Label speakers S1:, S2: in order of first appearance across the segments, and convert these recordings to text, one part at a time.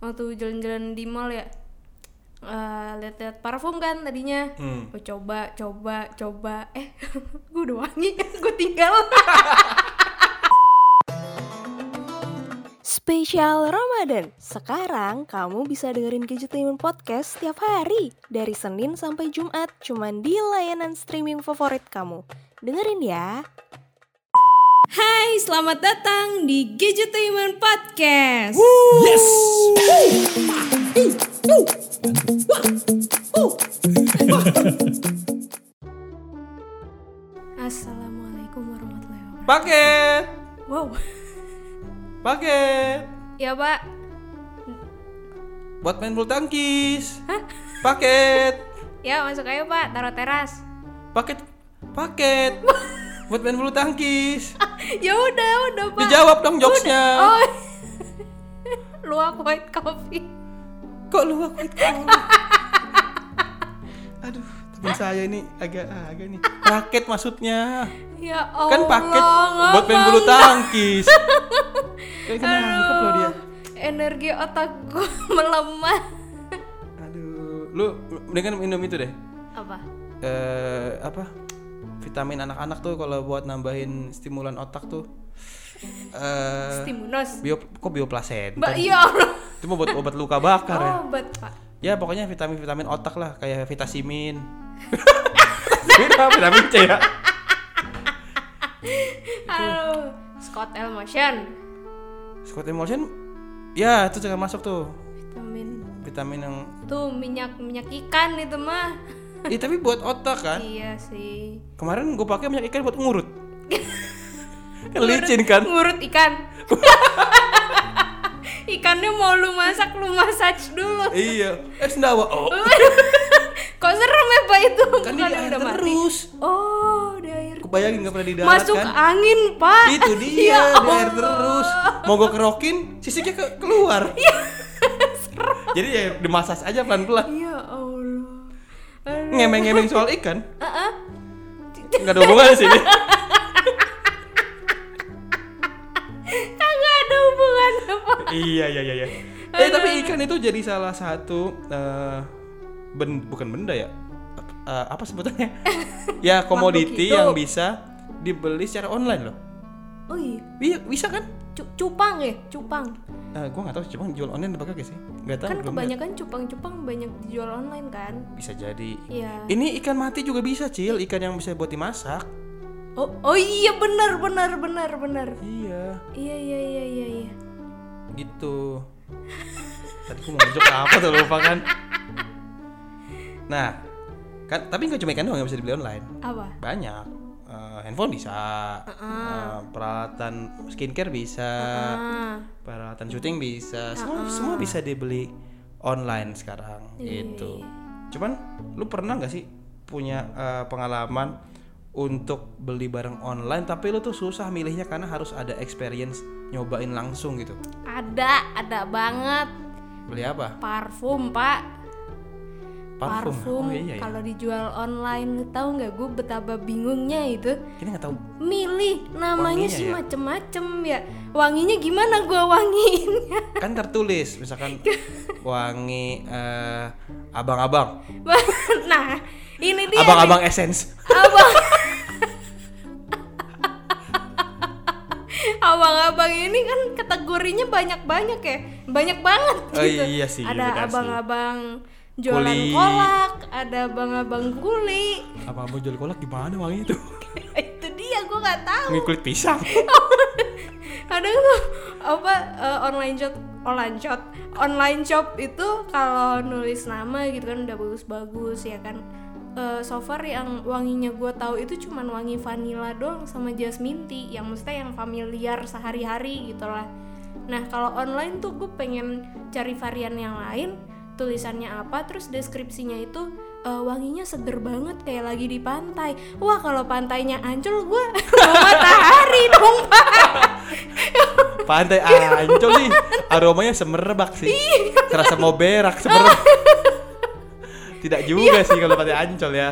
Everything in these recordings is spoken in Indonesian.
S1: waktu jalan-jalan di mall ya eh, lihat-lihat parfum kan tadinya
S2: Hmm.
S1: Gua coba coba coba eh gue udah wangi gue tinggal
S3: Spesial Ramadan. Sekarang kamu bisa dengerin Gadgetainment Podcast setiap hari dari Senin sampai Jumat cuman di layanan streaming favorit kamu. Dengerin ya.
S1: Hai selamat datang di Gadgetainment Podcast
S2: Yes.
S1: Assalamualaikum warahmatullahi wabarakatuh
S2: Paket.
S1: wow
S2: Paket.
S1: ya pak
S2: Buat main bulu tangkis. Paket.
S1: ya masuk aja pak taruh teras
S2: Paket. Paket. Buat main bulu tangkis.
S1: ya udah udah pak
S2: Dijawab dong jokesnya.
S1: oh luak white coffee
S2: Kok lu aku Aduh, teman saya ini agak ah, agak nih. Paket maksudnya.
S1: ya Allah
S2: Kan paket buat main
S1: ngomong.
S2: bulu tangkis. Kayak kena nangkep loh dia.
S1: energi otak gue melemah
S2: Aduh, lu mendingan minum itu deh.
S1: apa
S2: eh apa vitamin anak-anak tuh kalau buat nambahin stimulan otak tuh eh
S1: stimulos
S2: bio kok bioplasen
S1: mbak ya Allah
S2: itu mau buat obat luka bakar ya
S1: obat pak
S2: ya pokoknya vitamin vitamin otak lah kayak vitasimin vitamin apa? vitamin C ya
S1: Halo, Scott Elmotion
S2: Scott Emulsion ya itu juga masuk tuh
S1: vitamin
S2: vitamin yang
S1: tuh minyak minyak ikan itu mah
S2: Ih tapi buat otak kan
S1: iya sih
S2: kemarin gue pakai minyak ikan buat ngurut kan licin kan
S1: ngurut ikan ikannya mau lu masak lu massage dulu
S2: iya eh sendawa oh
S1: kok serem ya pak itu
S2: kan
S1: Bukannya
S2: di air
S1: udah mati
S2: terus
S1: oh di air
S2: kebayangin nggak pernah di darat
S1: masuk
S2: kan
S1: angin pak
S2: itu dia
S1: Ya
S2: di air
S1: Allah.
S2: terus mau gue kerokin sisiknya ke- keluar
S1: Iya,
S2: jadi ya dimasas aja pelan pelan
S1: ya Allah Aduh.
S2: ngemeng ngemeng soal ikan
S1: Ah, ah.
S2: nggak ada hubungan sih ini.
S1: kagak ada hubungan apa
S2: iya iya iya iya. eh tapi ikan itu jadi salah satu eh, ben- bukan benda ya Eh, apa sebutannya ya komoditi
S1: hidup.
S2: yang bisa dibeli secara online loh
S1: oh iya
S2: Iya, bisa kan
S1: Cu- cupang ya cupang
S2: Eh, gue nggak tahu sih, cuman jual online apa kagak sih nggak tahu
S1: kan
S2: belum lihat.
S1: kebanyakan cupang-cupang banyak dijual online kan
S2: bisa jadi
S1: Iya.
S2: ini ikan mati juga bisa cil ikan yang bisa buat dimasak
S1: oh oh iya benar benar benar benar
S2: Iya,
S1: iya iya iya iya iya
S2: gitu. Tadi aku mau ngejok apa tuh lupa kan. Nah, kan tapi nggak cuma ikan doang yang bisa dibeli online.
S1: apa
S2: Banyak. Eh, handphone bisa, Eh, peralatan skincare bisa,
S1: ah
S2: peralatan syuting bisa, semua semua bisa dibeli online sekarang gitu. Cuman lu pernah nggak sih punya eh, pengalaman untuk beli barang online tapi lu tuh susah milihnya karena harus ada experience nyobain langsung gitu.
S1: ada ada banget
S2: Beli apa?
S1: parfum pak
S2: Parfum. Oh iya ya.
S1: kalau dijual online lu tahu nggak gue betapa bingungnya itu
S2: Kita nggak tahu.
S1: milih namanya
S2: Wanginya
S1: sih
S2: ya?
S1: macem-macem ya wanginya gimana gua wangiinnya
S2: Kan tertulis misalkan wangi eh, abang-abang,
S1: nah ini dia
S2: abang-abang essence.
S1: abang abang-abang ini kan kategorinya banyak-banyak ya banyak banget
S2: Oh
S1: gitu
S2: iya sih, benar sih.
S1: ada abang-abang jualan
S2: Kuli.
S1: kolak ada abang-abang kuli
S2: Abang-abang jual kolak gimana wangi itu?
S1: itu dia gua nggak tahu
S2: Wangi kulit pisang.
S1: ada tuh apa eh, online shop online shop online shop itu kalau nulis nama gitu kan udah bagus-bagus ya kan Eh, so far yang wanginya gue tahu itu cuman wangi vanilla doang sama jasmine tea yang maksudnya yang familiar sehari-hari gitu lah nah kalau online tuh gue pengen cari varian yang lain tulisannya apa terus deskripsinya itu eh, wanginya seger banget kayak lagi di pantai wah kalau pantainya ancol gue mau matahari dong pak
S2: Pantai Ancol sih aromanya semerbak sih.
S1: Iya.
S2: Terasa mau berak semerbak.
S1: Iya.
S2: Tidak juga sih kalau Pantai Ancol ya.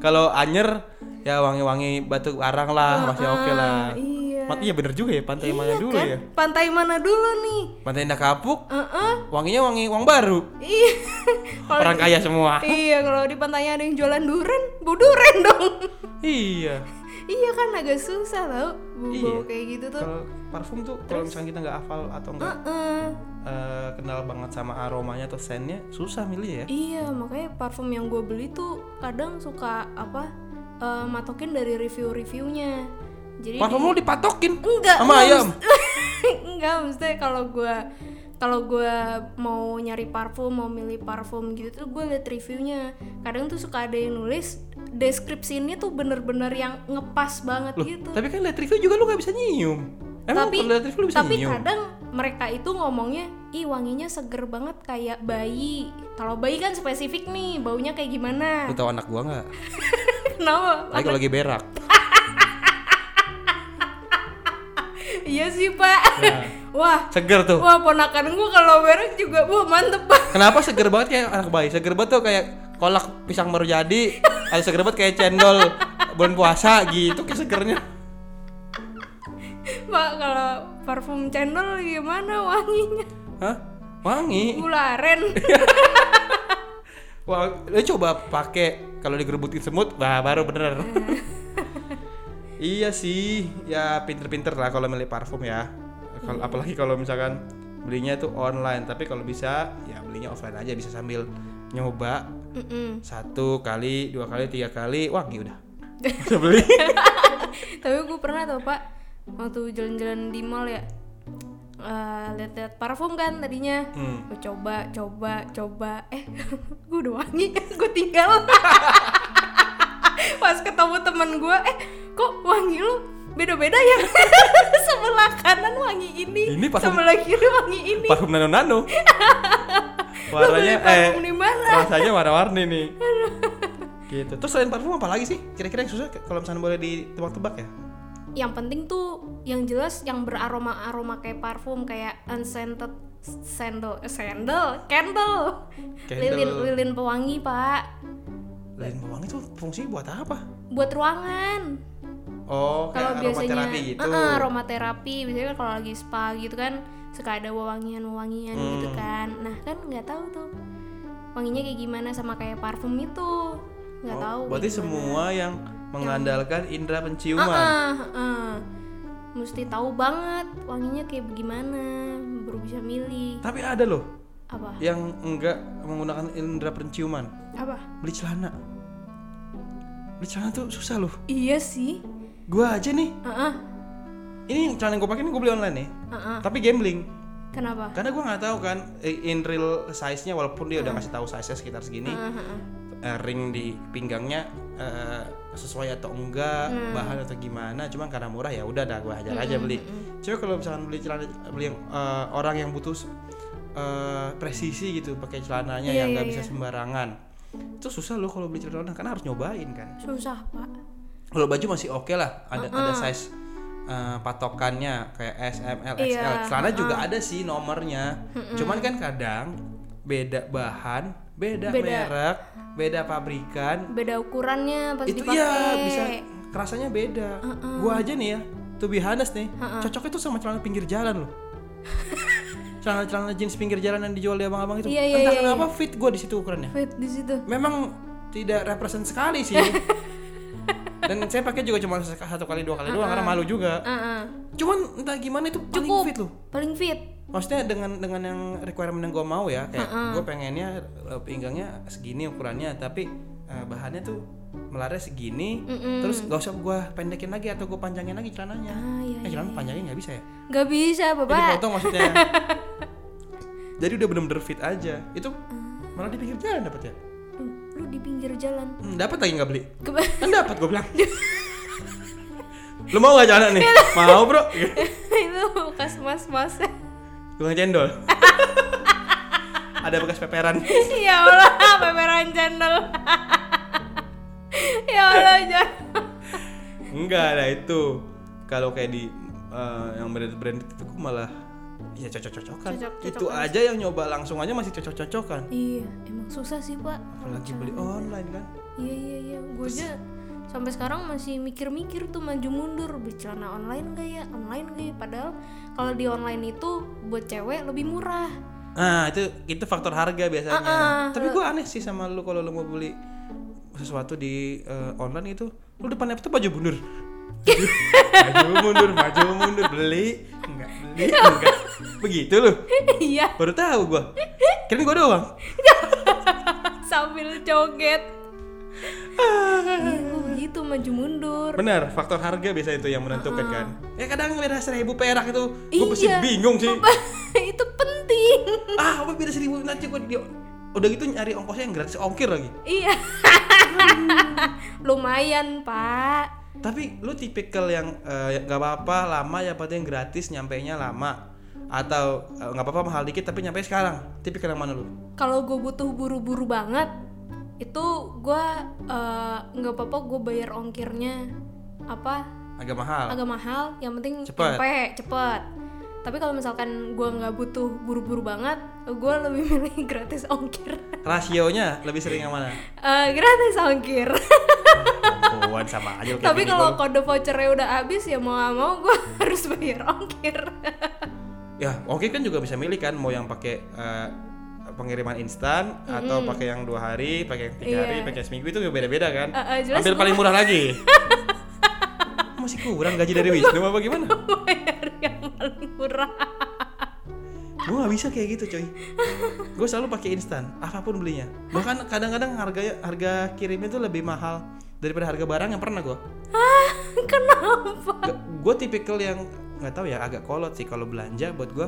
S2: Kalau Anyer ya wangi-wangi batu arang lah masih oke lah.
S1: Ah, Iya.
S2: Mat- iya bener juga ya pantai mana
S1: Iya
S2: dulu
S1: kan?
S2: ya
S1: Pantai mana dulu nih?
S2: pantai indah kapuk
S1: Heeh.
S2: wanginya wangi uang baru
S1: Iya. Kalau
S2: orang
S1: di-
S2: kaya semua
S1: Iya, kalau di pantainya ada yang jualan duren, bu duren dong.
S2: iya
S1: iya kan agak susah tau bu
S2: Iya.
S1: bau kayak gitu tuh.
S2: kalau parfum tuh kalau misalnya kita nggak hafal atau nggak
S1: Heeh.
S2: eh, kenal banget sama aromanya atau scentnya susah milih ya
S1: Iya, makanya parfum yang gue beli tuh kadang suka apa eh, matokin dari review-reviewnya. Jadi
S2: parfum
S1: di-
S2: lu dipatokin
S1: Iya. enggak
S2: sama
S1: enggak,
S2: ayam
S1: maks- enggak maksudnya kalau gue kalau gue mau nyari parfum mau milih parfum gitu tuh gue liat reviewnya kadang tuh suka ada yang nulis deskripsi ini tuh bener-bener yang ngepas banget
S2: Loh,
S1: gitu
S2: tapi kan lihat review juga lu nggak bisa nyium emang
S1: tapi
S2: kalau lihat review lu bisa
S1: tapi
S2: nyium
S1: kadang mereka itu ngomongnya ih wanginya seger banget kayak bayi kalau bayi kan spesifik nih baunya kayak gimana
S2: lu tahu anak gua nggak
S1: kenapa
S2: lagi lagi berak
S1: iya sih pak
S2: Nah.
S1: wah
S2: seger tuh
S1: wah ponakan gue kalau berak juga wah mantep pak
S2: Kenapa seger banget kayak anak bayi? Seger banget tuh kayak kolak pisang baru jadi Atau seger banget kayak cendol bulan puasa gitu kayak segernya
S1: Pak kalau parfum cendol gimana wanginya?
S2: Hah? Wangi
S1: Gularen.
S2: Wah, lu coba pakai kalau digerebutin semut, bah baru bener Iya sih, ya pinter-pinter lah kalau milih parfum ya Kalau-
S1: Hmm.
S2: Apalagi kalau misalkan belinya tuh online Tapi kalau bisa, ya belinya offline aja Bisa sambil nyoba
S1: Mm-mm.
S2: Satu kali, dua kali, tiga kali Wangi udah Bisa beli
S1: Tapi gue pernah tau Pak waktu jalan-jalan di mall ya eh, lihat-lihat parfum kan tadinya.
S2: Hmm.
S1: Gue coba, coba, coba. Eh, gue udah wangi, gue tinggal. Pas ketemu temen gue, eh kok wangi lu beda-beda ya? sebelah kanan wangi ini,
S2: Ini parfum-
S1: sebelah kiri wangi ini.
S2: parfum nano nano warnanya
S1: Lu
S2: eh,
S1: beli parfum di mana?
S2: rasanya warna-warni nih gitu terus selain parfum apa lagi sih kira-kira yang susah kalau misalnya boleh ditebak-tebak ya
S1: yang penting tuh yang jelas yang beraroma aroma kayak parfum kayak unscented sandal eh, sandal candle
S2: Candle.
S1: lilin lilin pewangi pak
S2: lain bawang itu fungsinya buat apa
S1: buat ruangan
S2: oh
S1: kalau
S2: kayak
S1: biasanya
S2: aromaterapi gitu
S1: Eh, eh, aromaterapi biasanya kan kalau lagi spa gitu kan suka ada wewangian wewangian gitu
S2: Hmm.
S1: kan nah kan nggak tahu tuh wanginya kayak gimana sama kayak parfum itu nggak
S2: Oh,
S1: tahu gitu kan. kayak
S2: berarti
S1: gimana.
S2: semua yang mengandalkan indera
S1: Ah,
S2: penciuman
S1: ah, ah. mesti tahu banget wanginya kayak gimana baru bisa milih
S2: tapi ada loh
S1: apa
S2: yang enggak menggunakan indera penciuman
S1: apa
S2: beli celana beli celana tuh susah loh
S1: iya sih
S2: gua aja nih
S1: Heeh.
S2: ini celana yang gua pakai ini gua beli online nih
S1: Heeh.
S2: tapi gambling
S1: kenapa
S2: karena gue nggak tahu kan eh, in real size nya walaupun dia udah ngasih tahu size nya sekitar segini
S1: Ah,
S2: eh, ring di pinggangnya eh, sesuai atau enggak
S1: Hmm.
S2: bahan atau gimana cuma karena murah ya udah dah gue hajar aja beli
S1: hmm.
S2: cuma kalau misalkan beli celana beli yang eh, orang yang butuh eh, presisi gitu pakai celananya
S1: Iya,
S2: yang nggak
S1: iya,
S2: bisa sembarangan itu susah loh kalau beli celana karena harus nyobain kan
S1: susah pak
S2: kalau baju masih oke lah ada ada size eh, patokannya kayak S M L XL
S1: Iya,
S2: celana juga ada sih nomornya cuman kan kadang beda bahan beda,
S1: Beda.
S2: merek beda pabrikan
S1: beda ukurannya pas
S2: itu
S1: dipakai
S2: ya bisa rasanya beda gua aja nih ya tuh bihanes nih cocoknya tuh sama celana pinggir jalan loh celana-celana jeans pinggir jalan yang dijual di abang-abang itu
S1: Iya, iya,
S2: entah
S1: iya,
S2: kenapa fit gua di situ ukurannya
S1: fit di situ
S2: memang tidak represent sekali sih dan saya pakai juga cuma sek- satu kali dua kali doang karena malu juga
S1: Heeh.
S2: cuman entah gimana itu paling
S1: Ah. Cukup.
S2: fit loh
S1: paling fit
S2: maksudnya dengan dengan yang requirement yang gue mau ya
S1: Ah,
S2: kayak gue pengennya eh, pinggangnya segini ukurannya tapi eh, bahannya tuh melarnya segini terus gak usah gue pendekin lagi atau gue panjangin lagi celananya
S1: Ah, iya,
S2: eh celana panjangin nggak bisa ya
S1: nggak bisa
S2: jadi
S1: bapak
S2: potong maksudnya jadi udah bener-bener fit aja itu
S1: Ah.
S2: malah di pinggir jalan dapat ya
S1: lu, lu di pinggir jalan
S2: Hmm, dapat lagi nggak beli
S1: Ke-
S2: kan dapat gue bilang lu mau gak celana nih mau bro
S1: itu bekas mas mas
S2: tukang cendol ada bekas peperan
S1: ya allah pemeran channel ya allah jangan
S2: enggak lah itu kalau kayak di eh, yang brand-brand itu gue malah ya cocok-cocokan
S1: Cocok-cocokan.
S2: itu aja yang nyoba langsung aja masih cocok-cocokan
S1: iya emang susah sih pak
S2: apalagi beli online kan
S1: iya iya iya gue aja sampai sekarang masih mikir-mikir tuh maju mundur beli celana online gak ya online gak ya padahal kalau di online itu buat cewek lebih murah
S2: Nah, itu itu faktor harga biasanya.
S1: Ah, ah.
S2: Tapi gua aneh sih sama lu kalau lu mau beli sesuatu di eh, online itu, lu depan laptop baju mundur. maju mundur, maju mundur, beli, enggak beli, enggak. Begitu lu.
S1: iya
S2: Baru tahu gua. Kirain gua doang.
S1: sambil joget Iya, gua begitu maju mundur
S2: Ah. Benar, faktor harga biasanya itu yang menentukan kan. Ya kadang beda seribu perak itu, gua pasti
S1: Ah, Iya.
S2: bingung sih.
S1: itu penting
S2: ah, apa beda seribu nanti gua dia udah gitu nyari ongkosnya yang gratis ongkir lagi.
S1: iya lumayan pak
S2: Tapi lu tipikal yang eh, nggak apa-apa lama ya penting gratis nyampe nya lama atau eh, nggak apa-apa mahal dikit tapi nyampe sekarang. Tipikal yang mana lu?
S1: kalau gue butuh buru-buru banget itu gue eh, nggak apa-apa gue bayar ongkirnya apa
S2: Agak mahal.
S1: agak mahal yang penting
S2: Cepet.
S1: cepet cepet tapi kalau misalkan gua nggak butuh buru-buru banget gua lebih milih gratis ongkir
S2: Rasionya lebih sering yang mana?
S1: Eh, gratis ongkir
S2: Perempuan sama aja lu kayak
S1: tapi
S2: bini
S1: kalau
S2: gua.
S1: kode vouchernya udah habis ya mau nggak mau gua harus bayar ongkir
S2: ya oke kan juga bisa milih kan mau yang pakai eh, pengiriman instan atau pakai yang dua hari, pakai yang tiga
S1: Iya.
S2: hari, pakai seminggu itu beda-beda kan.
S1: Eh, eh, jelas
S2: Ambil
S1: gua-
S2: paling murah lagi. Masih kurang gaji dari Wisnu apa gimana?
S1: bayar yang paling murah
S2: gue gak bisa kayak gitu coy gue selalu pakai instan apapun belinya bahkan kadang-kadang harga harga kirimnya tuh lebih mahal daripada harga barang yang pernah gue
S1: kenapa
S2: gue tipikal yang nggak tahu ya agak kolot sih kalau belanja buat gue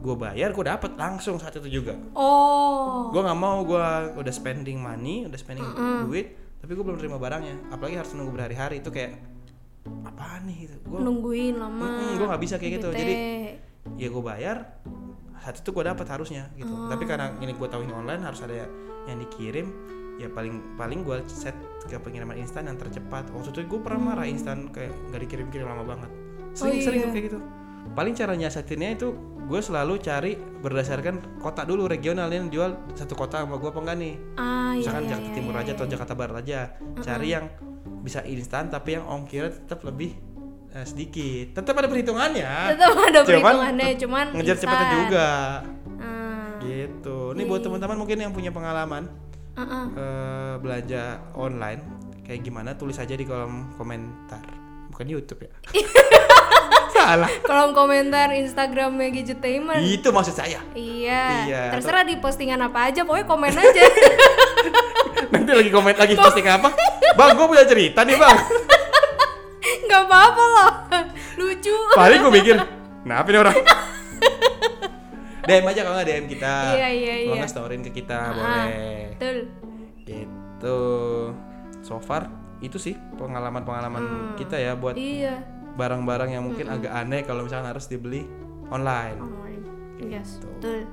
S2: gue bayar gue dapet langsung saat itu juga
S1: oh
S2: gue nggak mau gue udah spending money udah spending duit tapi gue belum terima barangnya apalagi harus nunggu berhari-hari itu kayak apaan nih gitu gue
S1: nungguin lama
S2: gue nggak bisa kayak gitu
S1: bete.
S2: jadi ya gue bayar saat itu gue dapat harusnya gitu
S1: Oh.
S2: tapi karena ini gue tahu ini online harus ada yang dikirim ya paling paling gue set ke pengiriman instan yang tercepat waktu itu gue pernah marah instan kayak nggak dikirim kirim lama banget sering sering
S1: iya.
S2: kayak gitu paling cara nyiasatinnya itu gue selalu cari berdasarkan kota dulu regional yang jual satu kota sama gue apa enggak nih
S1: ah iya,
S2: misalkan
S1: iya,
S2: Jakarta
S1: iya,
S2: Timur
S1: iya,
S2: aja atau Jakarta Barat aja cari yang bisa instan tapi yang ongkirnya tetap lebih eh, sedikit tetap ada perhitungannya
S1: tetap ada
S2: Cuman
S1: perhitungannya cuman
S2: ngejar
S1: instan.
S2: cepetnya juga
S1: Ah,
S2: gitu ini buat teman-teman mungkin yang punya pengalaman
S1: ah, Iya. ah.
S2: eh, belanja online kayak gimana tulis aja di kolom komentar bukan YouTube ya salah
S1: kolom komentar Instagramnya Gadgetainment
S2: itu maksud saya
S1: Iya,
S2: Iya,
S1: terserah di postingan apa aja, pokoknya komen aja.
S2: nanti lagi komen lagi posting apa bang gue punya cerita nih bang
S1: Gak apa-apa loh, lucu.
S2: paling gue mikir kenapa nih orang DM aja kalau nggak DM kita
S1: Iya, iya,
S2: kalau
S1: iya.
S2: nggak storyin ke kita
S1: Ah,
S2: boleh
S1: Betul.
S2: gitu so far itu sih
S1: Hmm.
S2: pengalaman-pengalaman kita ya buat
S1: Iya.
S2: barang-barang yang mungkin agak aneh kalau misalnya harus dibeli online.
S1: Oh, yes,
S2: Gitu.
S1: betul.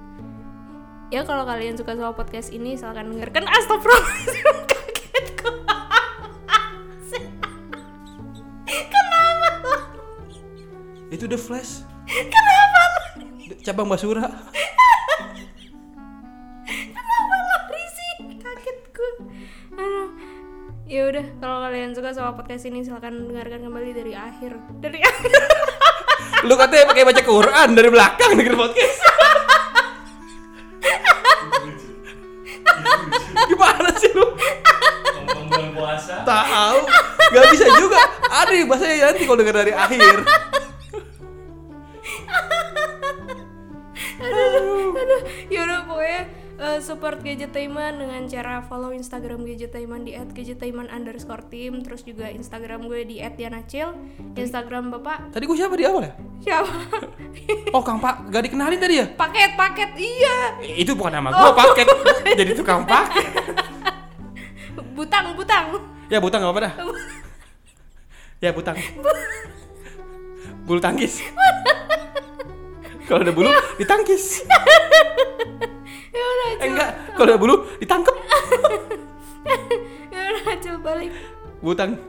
S1: Ya kalau kalian suka sama podcast ini silahkan dengarkan Astagfirullahaladzim kaget kok Kenapa lo?
S2: Itu The Flash,
S1: Kenapa lo?
S2: The- cabang Basura.
S1: Kenapa lari sih? Kaget gue. Aduh. Ya udah, kalau kalian suka sama podcast ini silahkan dengarkan kembali dari akhir. Dari akhir.
S2: Lu katanya pakai baca Quran dari belakang denger podcast. Gimana sih lu?
S4: Mumpung bulan puasa
S2: Tahu? Gak bisa juga. Aneh bahasanya nanti kalau denger dari akhir.
S1: Aduh, ya udah pokoknya eh, support Gadgetainment dengan cara follow Instagram Gadgetainment di @gadgetainment underscore team terus juga Instagram gue di @dianacil Instagram bapak
S2: Tadi gua siapa di awal ya?
S1: siapa
S2: Oh Kang Pak, gak dikenalin tadi ya?
S1: paket paket iya
S2: Itu bukan nama
S1: Oh.
S2: gua, paket. Jadi tukang paket.
S1: butang butang
S2: Ya butang gak apa-apa dah. Ya butang. Bulu tangkis. Kalau ada bulu ditangkis.
S1: ya udah
S2: Eh, enggak, kalau ada bulu ditangkep.
S1: ya udah coba balik
S2: Butang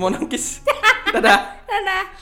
S2: mau nangkis. Dadah.
S1: dadah